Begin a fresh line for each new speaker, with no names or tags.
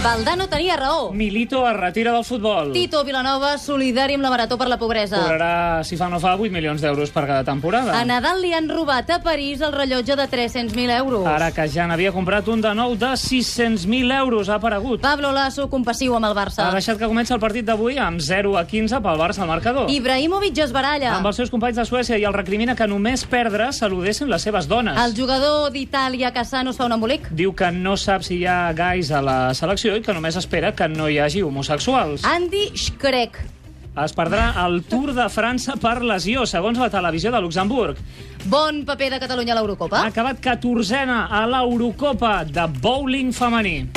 Valdano tenia raó.
Milito es retira del futbol.
Tito Vilanova, solidari amb la Marató per la Pobresa.
Cobrarà, si fa no fa, 8 milions d'euros per cada temporada.
A Nadal li han robat a París el rellotge de 300.000 euros.
Ara que ja n'havia comprat un de nou de 600.000 euros, ha aparegut.
Pablo Lasso, compassiu amb el Barça.
Ha deixat que comença el partit d'avui amb 0 a 15 pel Barça al marcador.
Ibrahimovic es baralla.
Amb els seus companys de Suècia i el recrimina que només perdre saludessin les seves dones.
El jugador d'Itàlia, Cassano, es fa un embolic.
Diu que no sap si hi ha gais a la selecció i que només espera que no hi hagi homosexuals.
Andy Schreck.
Es perdrà el Tour de França per lesió, segons la televisió de Luxemburg.
Bon paper de Catalunya a l'Eurocopa.
Ha acabat 14a a l'Eurocopa de bowling femení.